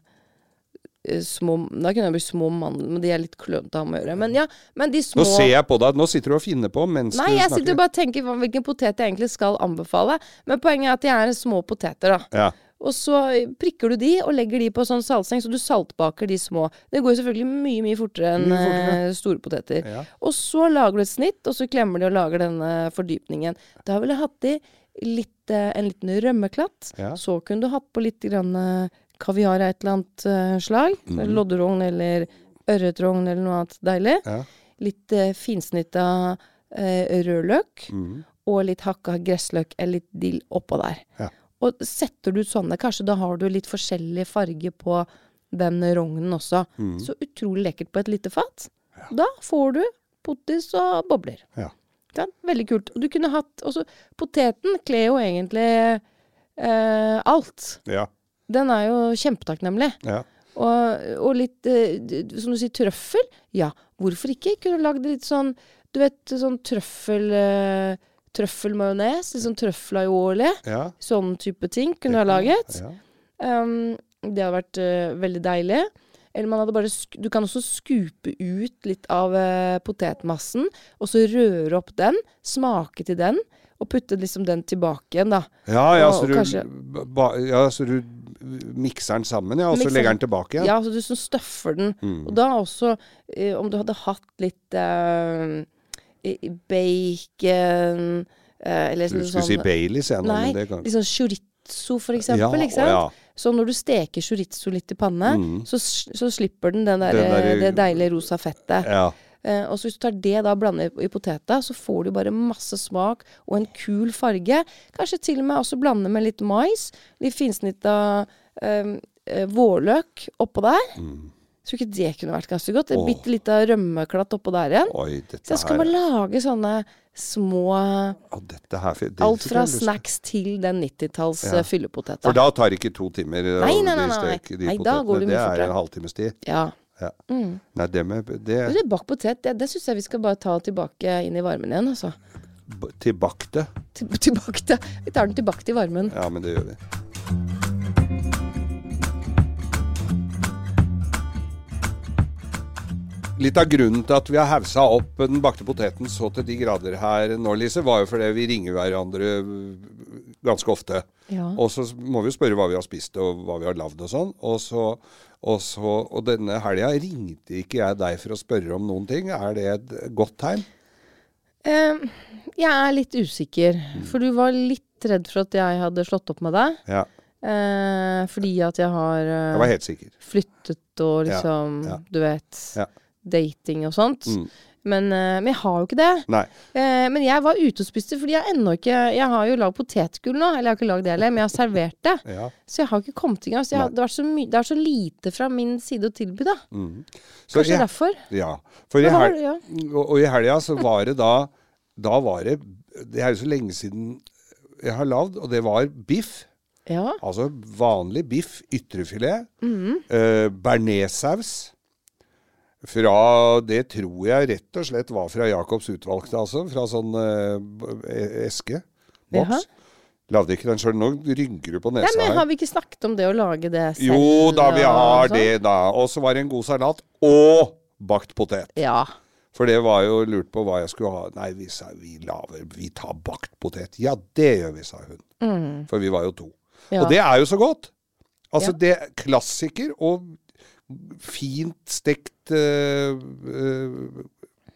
Speaker 4: eh, små Da kunne jeg brukt små mandler, men de er litt klønete å ha med å gjøre. Men ja, men de små
Speaker 3: Nå ser jeg på deg, nå sitter du og finner på mens
Speaker 4: Nei,
Speaker 3: du
Speaker 4: jeg
Speaker 3: snakker.
Speaker 4: sitter og bare tenker på hvilken potet jeg egentlig skal anbefale. Men poenget er at de er små poteter, da.
Speaker 3: Ja.
Speaker 4: Og så prikker du de, og legger de på sånn saltseng, så du saltbaker de små. Det går jo selvfølgelig mye, mye fortere enn eh, store poteter.
Speaker 3: Ja.
Speaker 4: Og så lager du et snitt, og så klemmer de og lager denne fordypningen. Da ville jeg hatt i litt, eh, en liten rømmeklatt.
Speaker 3: Ja.
Speaker 4: Så kunne du hatt på litt grann, eh, kaviar av et eller annet eh, slag. Lodderogn eller ørretrogn eller noe annet deilig.
Speaker 3: Mhm. Ja.
Speaker 4: Litt eh, finsnitta eh, rødløk
Speaker 3: mm,
Speaker 4: og litt hakka gressløk eller litt dill oppå der.
Speaker 3: Ja.
Speaker 4: Og setter du ut sånne, kanskje da har du litt forskjellig farge på den rognen også.
Speaker 3: Mm.
Speaker 4: Så utrolig lekkert på et lite fat. Da får du potis og bobler.
Speaker 3: Ja.
Speaker 4: Ikke sant? Veldig kult. Og du kunne hatt også, Poteten kler jo egentlig eh, alt.
Speaker 3: Ja.
Speaker 4: Den er jo kjempetakknemlig.
Speaker 3: Ja.
Speaker 4: Og, og litt, eh, d- d- som du sier, trøffel. Ja, hvorfor ikke? Kunne lagd litt sånn, du vet, sånn trøffel... Eh, Trøffelmajones, litt sånn trøffel-aioli.
Speaker 3: Ja.
Speaker 4: Sånn type ting kunne du ha laget.
Speaker 3: Ja.
Speaker 4: Um, det hadde vært eh, veldig deilig. Eller man hadde bare sk Du kan også skupe ut litt av eh, potetmassen, og så røre opp den, smake til den, og putte liksom den tilbake igjen, da.
Speaker 3: Ja, ja,
Speaker 4: Og-
Speaker 3: så
Speaker 4: og
Speaker 3: du,
Speaker 4: kanskje-
Speaker 3: ba, ja, så du mikser den sammen, ja, og så
Speaker 4: Mikser
Speaker 3: legger
Speaker 4: den.
Speaker 3: den tilbake igjen. Mm.
Speaker 4: Ja, så du sånn støffer den. Og da også, eh, om du hadde hatt litt eh, i- i bacon eh, Eller
Speaker 3: Du
Speaker 4: sånn
Speaker 3: skulle si Baileys, jeg nå,
Speaker 4: Nei,
Speaker 3: men det kan
Speaker 4: litt sånn chorizo, for eksempel.
Speaker 3: Ja,
Speaker 4: ikke
Speaker 3: å
Speaker 4: sant?
Speaker 3: ja. Mm.
Speaker 4: Så når du steker chorizo litt i panne, så, s- så slipper den, den der,
Speaker 3: Den der- eh,
Speaker 4: det deilige rosa fettet.
Speaker 3: Ja.
Speaker 4: Eh, og så Hvis du tar det da og blander i poteta, så får du bare masse smak og en kul farge. Kanskje til og med også blande med litt mais. Litt finsnitta eh, eh, vårløk oppå der.
Speaker 3: Mm.
Speaker 4: Tror ikke det kunne vært ganske godt. En
Speaker 3: Åh.
Speaker 4: bitte lita rømmeklatt oppå der igjen.
Speaker 3: Oi,
Speaker 4: Så
Speaker 3: dette
Speaker 4: jeg skal
Speaker 3: her,
Speaker 4: bare lage sånne små
Speaker 3: ja, dette her det
Speaker 4: Alt
Speaker 3: fikk
Speaker 4: fra
Speaker 3: jeg lyst til.
Speaker 4: snacks til den 90-talls
Speaker 3: Ja.
Speaker 4: eh, fyllepoteta.
Speaker 3: For da tar det ikke to timer å
Speaker 4: Nei, nei, nei,
Speaker 3: de
Speaker 4: nei.
Speaker 3: steke de
Speaker 4: Nei, da
Speaker 3: potetene.
Speaker 4: går det mye
Speaker 3: det er
Speaker 4: fortere.
Speaker 3: en halvtimes tid.
Speaker 4: ja.
Speaker 3: Ja. Nei, det med det,
Speaker 4: Men det bakt potet, det, det syns jeg vi skal bare ta tilbake inn i varmen igjen, altså.
Speaker 3: b- Til bakte.
Speaker 4: Til- Tilbake til, vi tar den tilbake til varmen.
Speaker 3: Ja, men det gjør vi. Litt av grunnen til at vi har hausa opp den bakte poteten så til de grader her nå, Lise, var jo fordi vi ringer hverandre ganske ofte.
Speaker 4: Ja.
Speaker 3: Og så må vi jo spørre hva vi har spist og hva vi har lagd og sånn. Og, så, og, så, og denne helga ringte ikke jeg deg for å spørre om noen ting. Er det et godt tegn?
Speaker 4: Eh, jeg er litt usikker,
Speaker 3: Mm.
Speaker 4: for du var litt redd for at jeg hadde slått opp med deg.
Speaker 3: Ja.
Speaker 4: eh, fordi at jeg har eh,
Speaker 3: Jeg var helt sikker.
Speaker 4: flyttet og liksom,
Speaker 3: ja.
Speaker 4: du vet,
Speaker 3: Ja.
Speaker 4: dating og sånt.
Speaker 3: Mm.
Speaker 4: Men, eh, men jeg har jo ikke det.
Speaker 3: Nei.
Speaker 4: Eh, men jeg var ute og spiste, fordi jeg ennå ikke Jeg har jo lagd potetgull nå, eller jeg har ikke lagd det heller, men jeg har servert det.
Speaker 3: Ja.
Speaker 4: Så jeg har ikke kommet i gang. Så jeg har, det, er så my det er så lite fra min side å tilby, da.
Speaker 3: Så
Speaker 4: Kanskje
Speaker 3: jeg-
Speaker 4: derfor.
Speaker 3: Mm. Ja. For i
Speaker 4: Men hva var
Speaker 3: hel-
Speaker 4: det, ja?
Speaker 3: og, og i helga så var det da Da var det Det er jo så lenge siden jeg har lagd, og det var biff.
Speaker 4: Ja.
Speaker 3: Altså vanlig biff, ytrefilet,
Speaker 4: Mhm.
Speaker 3: eh, bearnéssaus. Fra Det tror jeg rett og slett var fra Jacobs utvalgte, altså. Fra sånn eh, b- e- eske.
Speaker 4: Jaha.
Speaker 3: Boks. Lagde ikke den sjøl. Nå rynker du på
Speaker 4: Nei,
Speaker 3: nesa
Speaker 4: men
Speaker 3: her.
Speaker 4: Har vi ikke snakket om det å lage det selv?
Speaker 3: Jo da, vi
Speaker 4: og
Speaker 3: har
Speaker 4: sånn?
Speaker 3: det, da. Og så var det en god salat. Og bakt potet.
Speaker 4: Ja.
Speaker 3: For det var jo lurt på hva jeg skulle ha. Nei, vi sa vi lager Vi tar bakt potet. Ja, det gjør vi, sa hun. For vi var jo to.
Speaker 4: Mm. Ja.
Speaker 3: Og det er jo så godt. Altså,
Speaker 4: Ja.
Speaker 3: det er klassiker og fint stekt eh, eh,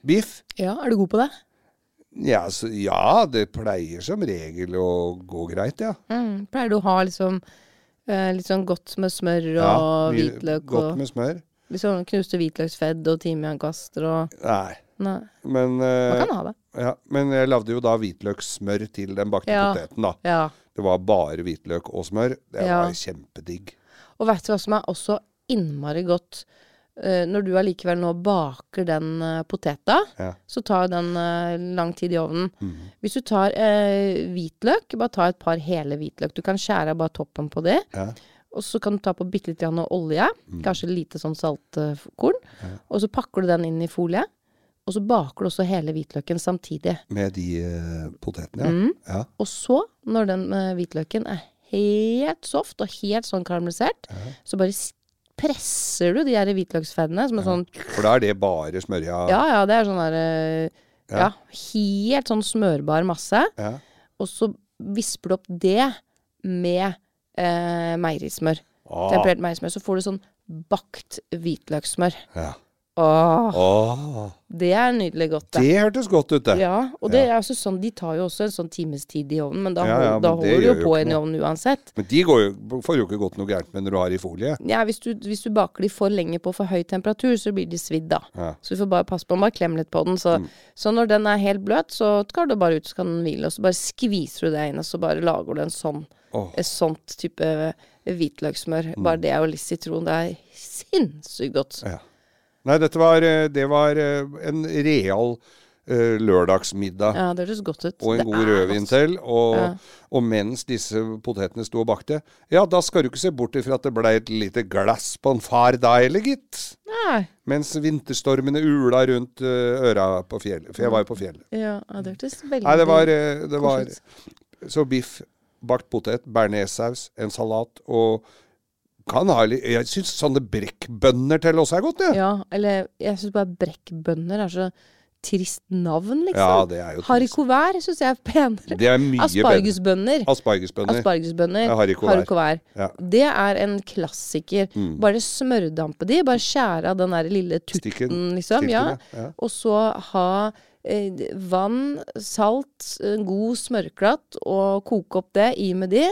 Speaker 3: biff.
Speaker 4: ja. Er du god på det?
Speaker 3: Ja, så, ja, det pleier som regel å gå greit, ja.
Speaker 4: Mm. Pleier du å ha liksom eh, litt sånn godt med smør og
Speaker 3: ja mye-
Speaker 4: hvitløk
Speaker 3: Godt
Speaker 4: og
Speaker 3: med smør.
Speaker 4: litt sånn knuste hvitløksfedd og timiankvaster og
Speaker 3: Nei,
Speaker 4: Nei,
Speaker 3: men,
Speaker 4: man
Speaker 3: eh,
Speaker 4: kan ha det.
Speaker 3: ja, men jeg lagde jo da hvitløkssmør til den bakte
Speaker 4: Ja.
Speaker 3: poteten, da.
Speaker 4: Ja.
Speaker 3: Det var bare hvitløk og smør. Det
Speaker 4: Ja.
Speaker 3: var kjempedigg.
Speaker 4: Og vet du hva som er også innmari godt? Eh, når du allikevel nå baker den eh, poteta,
Speaker 3: Ja. Mhm.
Speaker 4: så tar jo den eh, lang tid i ovnen. Hvis du tar eh, hvitløk, bare ta et par hele hvitløk. Du kan skjære av bare toppen på det.
Speaker 3: Ja. Mhm.
Speaker 4: Og så kan du ta på bitte litt grann olje, kanskje lite sånn saltkorn. Og så pakker du den inn i folie. Og så baker du også hele hvitløken samtidig.
Speaker 3: Med de eh, potetene, ja. ja.
Speaker 4: Mm. Og så, når den eh, hvitløken er helt soft og helt sånn karamellisert, så bare s- presser du de her hvitløksfeddene som er sånn
Speaker 3: For da er det bare smørja.
Speaker 4: Ja, ja, det er sånn der eh, ja. helt sånn smørbar masse.
Speaker 3: Ja.
Speaker 4: Og så visper du opp det med eh, meierismør.
Speaker 3: Ah.
Speaker 4: Temperert meierismør. Så får du sånn bakt hvitløkssmør.
Speaker 3: Ja.
Speaker 4: Åh,
Speaker 3: Åh,
Speaker 4: det er nydelig godt, det.
Speaker 3: det hørtes godt ut, Ah. det.
Speaker 4: Ja, og det er også sånn, de tar jo også en sånn times tid i ovnen, men da,
Speaker 3: Ja, ja,
Speaker 4: hold- da
Speaker 3: men det
Speaker 4: holder du
Speaker 3: gjør
Speaker 4: jo
Speaker 3: jo
Speaker 4: på
Speaker 3: ikke
Speaker 4: i
Speaker 3: noe.
Speaker 4: ovnen uansett.
Speaker 3: Men de går jo, får jo ikke gått noe gærent med når du har i folie.
Speaker 4: Ja, hvis du, hvis du baker de for lenge på for høy temperatur, så blir de svidd da.
Speaker 3: Ja. Mm.
Speaker 4: Så du får bare passe på, bare klem litt på den. Så, så når den er helt bløt, så tar du bare ut, så kan den hvile. Og så bare skviser du det inn, og så bare lager du en sånn,
Speaker 3: Åh.
Speaker 4: et sånt type hvitløkssmør. Bare det og litt sitron. Det er sinnssykt godt.
Speaker 3: Mm. Ja. Nei, dette var, eh, det var eh, en real eh, lørdagsmiddag.
Speaker 4: Ja, det høres godt ut.
Speaker 3: Og en
Speaker 4: Det
Speaker 3: god
Speaker 4: er
Speaker 3: rødvin til. Og,
Speaker 4: Ja.
Speaker 3: og mens disse potetene sto og bakte, ja, da skal du ikke se bort ifra at det blei et lite glass på en far da heller, gitt.
Speaker 4: godt. Nei.
Speaker 3: Mens vinterstormene ula rundt eh, øra på fjellet. For jeg var jo på fjellet.
Speaker 4: Ja, ja, det hørtes veldig
Speaker 3: Nei, det var, eh, det var
Speaker 4: Mm. Koselig.
Speaker 3: Så biff, bakt potet, bearnéssaus, en salat og kan ha litt Jeg syns sånne brekkbønner til også er godt, jeg.
Speaker 4: Ja, eller jeg syns bare brekkbønner er så trist navn, liksom.
Speaker 3: Ja, det er jo trist.
Speaker 4: Harikovær syns jeg er penere.
Speaker 3: Det er mye bedre.
Speaker 4: Aspargesbønner.
Speaker 3: Aspargesbønner.
Speaker 4: Aspargesbønner.
Speaker 3: Ja, haricot vær.
Speaker 4: Harikovær.
Speaker 3: Ja.
Speaker 4: Det er en klassiker.
Speaker 3: Mm.
Speaker 4: Bare smørdampe de. Bare skjære av den der lille tutten,
Speaker 3: Stikken.
Speaker 4: liksom.
Speaker 3: Stikken,
Speaker 4: Ja.
Speaker 3: ja. Ja.
Speaker 4: Og så ha eh, vann, salt, en god smørklatt, og koke opp det. I med de.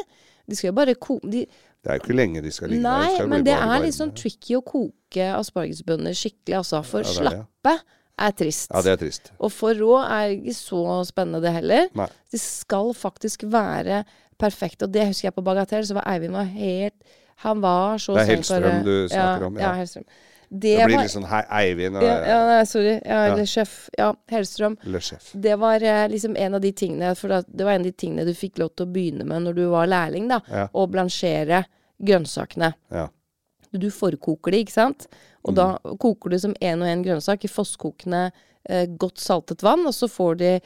Speaker 4: De skal jo bare koke de,
Speaker 3: Det er jo ikke lenge de skal ligge der.
Speaker 4: Nei,
Speaker 3: skal bli
Speaker 4: men det
Speaker 3: bare
Speaker 4: er
Speaker 3: varme.
Speaker 4: litt sånn tricky å koke aspargesbønner skikkelig, altså. For
Speaker 3: Ja, det er det.
Speaker 4: slappe er trist.
Speaker 3: Ja, det er trist.
Speaker 4: Og for rå er ikke så spennende det heller.
Speaker 3: Nei.
Speaker 4: De skal faktisk være perfekte. Og det husker jeg på Bagatell, så var Eivind var helt Han var så
Speaker 3: Det er
Speaker 4: sent bare-
Speaker 3: Hellstrøm du snakker om,
Speaker 4: Ja,
Speaker 3: ja.
Speaker 4: Hellstrøm. Det,
Speaker 3: Det blir
Speaker 4: var
Speaker 3: litt sånn hei, Eivind og eh,
Speaker 4: ja, ja, nei, sorry. Ja,
Speaker 3: Ja.
Speaker 4: eller sjef. Ja, Hellstrøm.
Speaker 3: eller sjef.
Speaker 4: Det var eh, liksom en av de tingene For da- det var en av de tingene du fikk lov til å begynne med når du var lærling, da.
Speaker 3: Ja.
Speaker 4: Å blansjere grønnsakene.
Speaker 3: Ja.
Speaker 4: Du forkoker de, ikke sant? Og da
Speaker 3: Mm.
Speaker 4: koker du som én og én grønnsak i fosskokende eh, godt saltet vann, og så får de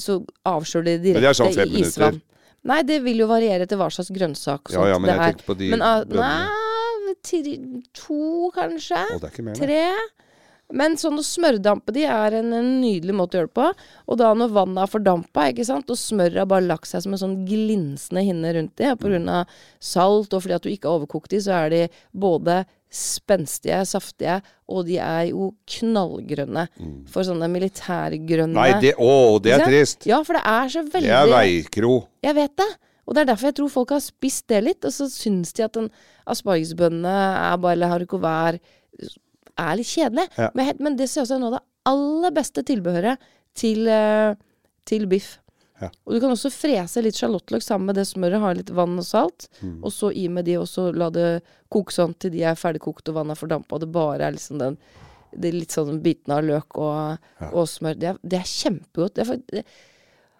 Speaker 4: Så avskjører de
Speaker 3: Men det
Speaker 4: direkte
Speaker 3: er sånn fem
Speaker 4: i isvann.
Speaker 3: minutter.
Speaker 4: Nei, det vil jo variere etter hva slags grønnsak og
Speaker 3: Ja,
Speaker 4: sånt
Speaker 3: ja, men
Speaker 4: det
Speaker 3: jeg
Speaker 4: er.
Speaker 3: tenkte på de
Speaker 4: men ah,
Speaker 3: bønnene.
Speaker 4: nei, tre, to kanskje?
Speaker 3: Å, det er ikke mer, nei.
Speaker 4: tre? Men sånn å smørdampe de er en, en nydelig måte å gjøre det på. Og da når vannet er fordampa, ikke sant, og smøret har bare lagt seg som en sånn glinsende hinne rundt de, og på grunn av salt og fordi at du ikke har overkokt de, så er de både spenstige, saftige, og de er jo knallgrønne. For sånne
Speaker 3: Mm.
Speaker 4: militærgrønne
Speaker 3: Nei, det, å, det er
Speaker 4: Ikke sant?
Speaker 3: trist.
Speaker 4: Ja, for det er så veldig
Speaker 3: Det er veikro.
Speaker 4: jeg vet det. Og det er derfor jeg tror folk har spist det litt, og så syns de at den aspargesbønne er bare, eller harikovær er litt kjedelig.
Speaker 3: Ja.
Speaker 4: Men, jeg- men det ser også er noe av det aller beste tilbehøret til, eh, til biff.
Speaker 3: Ja.
Speaker 4: Og du kan også frese litt sjalottløk sammen med det smøret, ha litt vann og salt,
Speaker 3: Mm.
Speaker 4: og så i med de, og så la det koke sånn til de er ferdigkokt og vannet er fordampa, og det bare er liksom den det er litt sånn bitene av løk og, og smør. Det er, det er kjempegodt. Det er, fakt- det,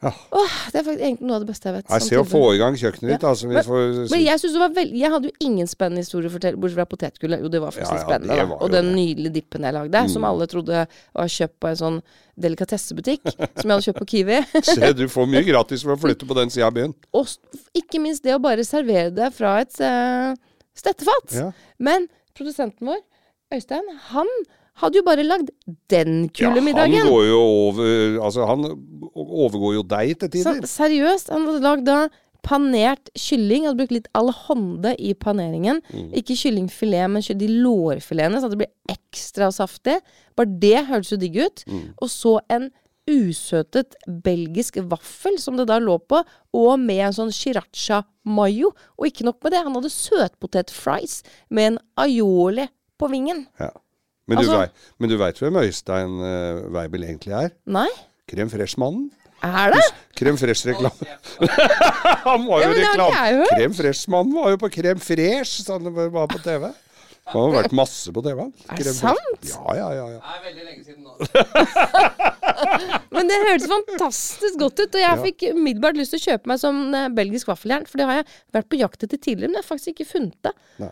Speaker 3: Ja.
Speaker 4: Åh, det er faktisk egentlig noe av det beste jeg vet.
Speaker 3: Nei, se å
Speaker 4: samtidig.
Speaker 3: få i gang kjøkkenet ditt, altså. Vi
Speaker 4: Men-
Speaker 3: får
Speaker 4: Men jeg synes det var veldig Jeg hadde jo ingen spennende historie å fortelle, bortsett fra potetgullet. Jo, det var faktisk
Speaker 3: Ja, ja,
Speaker 4: litt spennende.
Speaker 3: det Mm.
Speaker 4: Da.
Speaker 3: var
Speaker 4: Og
Speaker 3: jo
Speaker 4: den nydelige dippen jeg lagde, som alle trodde var kjøpt på en sånn delikatessebutikk, som jeg hadde kjøpt på Kiwi. <laughs>
Speaker 3: se, du får mye gratis ved å flytte på den sida av byen.
Speaker 4: Og s- ikke minst det å bare servere det fra et eh, stettefat.
Speaker 3: Ja.
Speaker 4: Men produsenten vår, Øystein, han hadde jo bare lagd den
Speaker 3: Ja,
Speaker 4: kule
Speaker 3: han
Speaker 4: middagen.
Speaker 3: går jo over Altså, han overgår jo deg til
Speaker 4: Så,
Speaker 3: tider.
Speaker 4: seriøst, han hadde lagd da panert kylling. Hadde brukt litt alhonde i paneringen. Ikke kyllingfilet, men ky- de lårfiletene, så at det blir ekstra saftig. Bare det hørtes jo digg ut. Og så en usøtet belgisk vaffel som det da lå på, og med en sånn sriracha mayo. Og ikke nok med det, han hadde søtpotet-fries med en aioli på vingen.
Speaker 3: Ja. Men, du
Speaker 4: Altså-
Speaker 3: vei, men du veit hvem Øystein eh, Weibel egentlig er?
Speaker 4: Nei,
Speaker 3: Krem Fresh-mannen.
Speaker 4: er det?
Speaker 3: Krem Fresh-reklame. <laughs> han var
Speaker 4: Ja,
Speaker 3: jo
Speaker 4: men det har ikke jeg
Speaker 3: reklame.
Speaker 4: hørt.
Speaker 3: Krem Fresh-mannen var jo på Krem Fresh, så han var på TV. Han har vært masse på TV. han.
Speaker 4: Er det
Speaker 3: Krem Fresh.
Speaker 4: sant?
Speaker 3: Ja, ja, ja. ja.
Speaker 2: er veldig lenge siden nå.
Speaker 4: Men det hørtes fantastisk godt ut, og jeg fikk umiddelbart lyst til å kjøpe meg sånn eh, belgisk vaffeljern, for det har jeg vært på jakt etter tidligere, men jeg har faktisk ikke funnet det.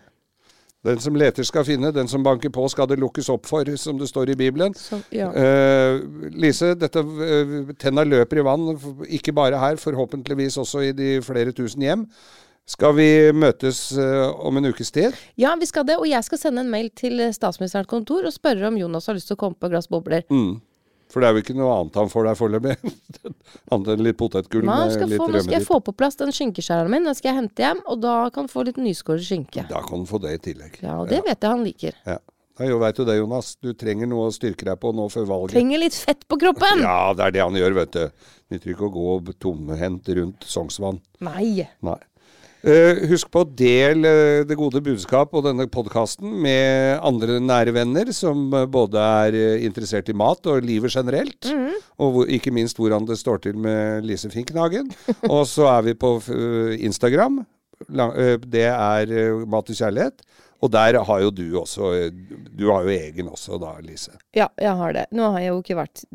Speaker 3: Den som leter skal finne, den som banker på skal det lukkes opp for, som det står i Bibelen.
Speaker 4: Så, ja.
Speaker 3: Eh, Lise, dette, eh, tenna løper i vann, f- ikke bare her, forhåpentligvis også i de flere tusen hjem. Skal vi møtes eh, om en ukes tid?
Speaker 4: ja, vi skal det, og jeg skal sende en mail til eh, statsministerens kontor og spørre om Jonas har lyst til å komme på et glass bobler.
Speaker 3: Mm, For det er jo ikke noe annet han får der foreløpig. <laughs> Annet enn litt potetgull
Speaker 4: Nå
Speaker 3: med
Speaker 4: skal,
Speaker 3: eh, litt
Speaker 4: få, nå skal jeg
Speaker 3: rømme
Speaker 4: få på plass den skinkeskjæreren min, den skal jeg hente hjem, og da kan han få litt nyskåret skinke.
Speaker 3: Da kan han få det i tillegg.
Speaker 4: Ja, og det vet jeg han liker.
Speaker 3: Ja. Ja, jo, veit du det, Jonas. Du trenger noe å styrke deg på nå før valget.
Speaker 4: Trenger litt fett på kroppen!
Speaker 3: Ja, det er det han gjør, vet du. Nytter ikke å gå tomhendt rundt Sognsvann.
Speaker 4: Nei!
Speaker 3: Nei. Eh, husk på å dele eh, det gode budskap og denne podkasten med andre nære venner som eh, både er eh, interessert i mat og livet generelt, og hvor, ikke minst hvordan det står til med Lise Finkenhagen. og så er vi på eh, Instagram. La, eh, det er eh, Mat og kjærlighet. Og der har jo du også eh, Du har jo egen også da, Lise.
Speaker 4: Ja, jeg har det. Nå har jeg jo ikke vært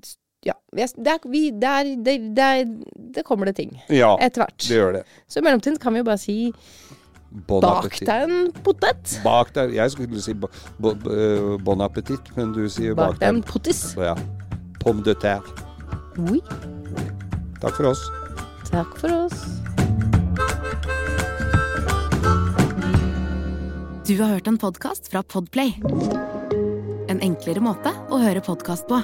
Speaker 4: Ja. jeg- Det, er, vi, det, er, det, det, er, det kommer det ting.
Speaker 3: Ja,
Speaker 4: Etter hvert.
Speaker 3: det gjør det.
Speaker 4: Så i mellomtiden kan vi jo bare si
Speaker 3: Bon
Speaker 4: bak
Speaker 3: appétit.
Speaker 4: deg en potet.
Speaker 3: Bak deg. Jeg skulle si bo, bo, eh, bon appétit, men du sier
Speaker 4: Bak
Speaker 3: bak
Speaker 4: deg en
Speaker 3: deg.
Speaker 4: potis.
Speaker 3: Ja. Pomme de terre.
Speaker 4: Oui.
Speaker 3: Takk for oss.
Speaker 4: Takk for oss.
Speaker 1: Du har hørt en podkast fra Podplay. En enklere måte å høre podkast på.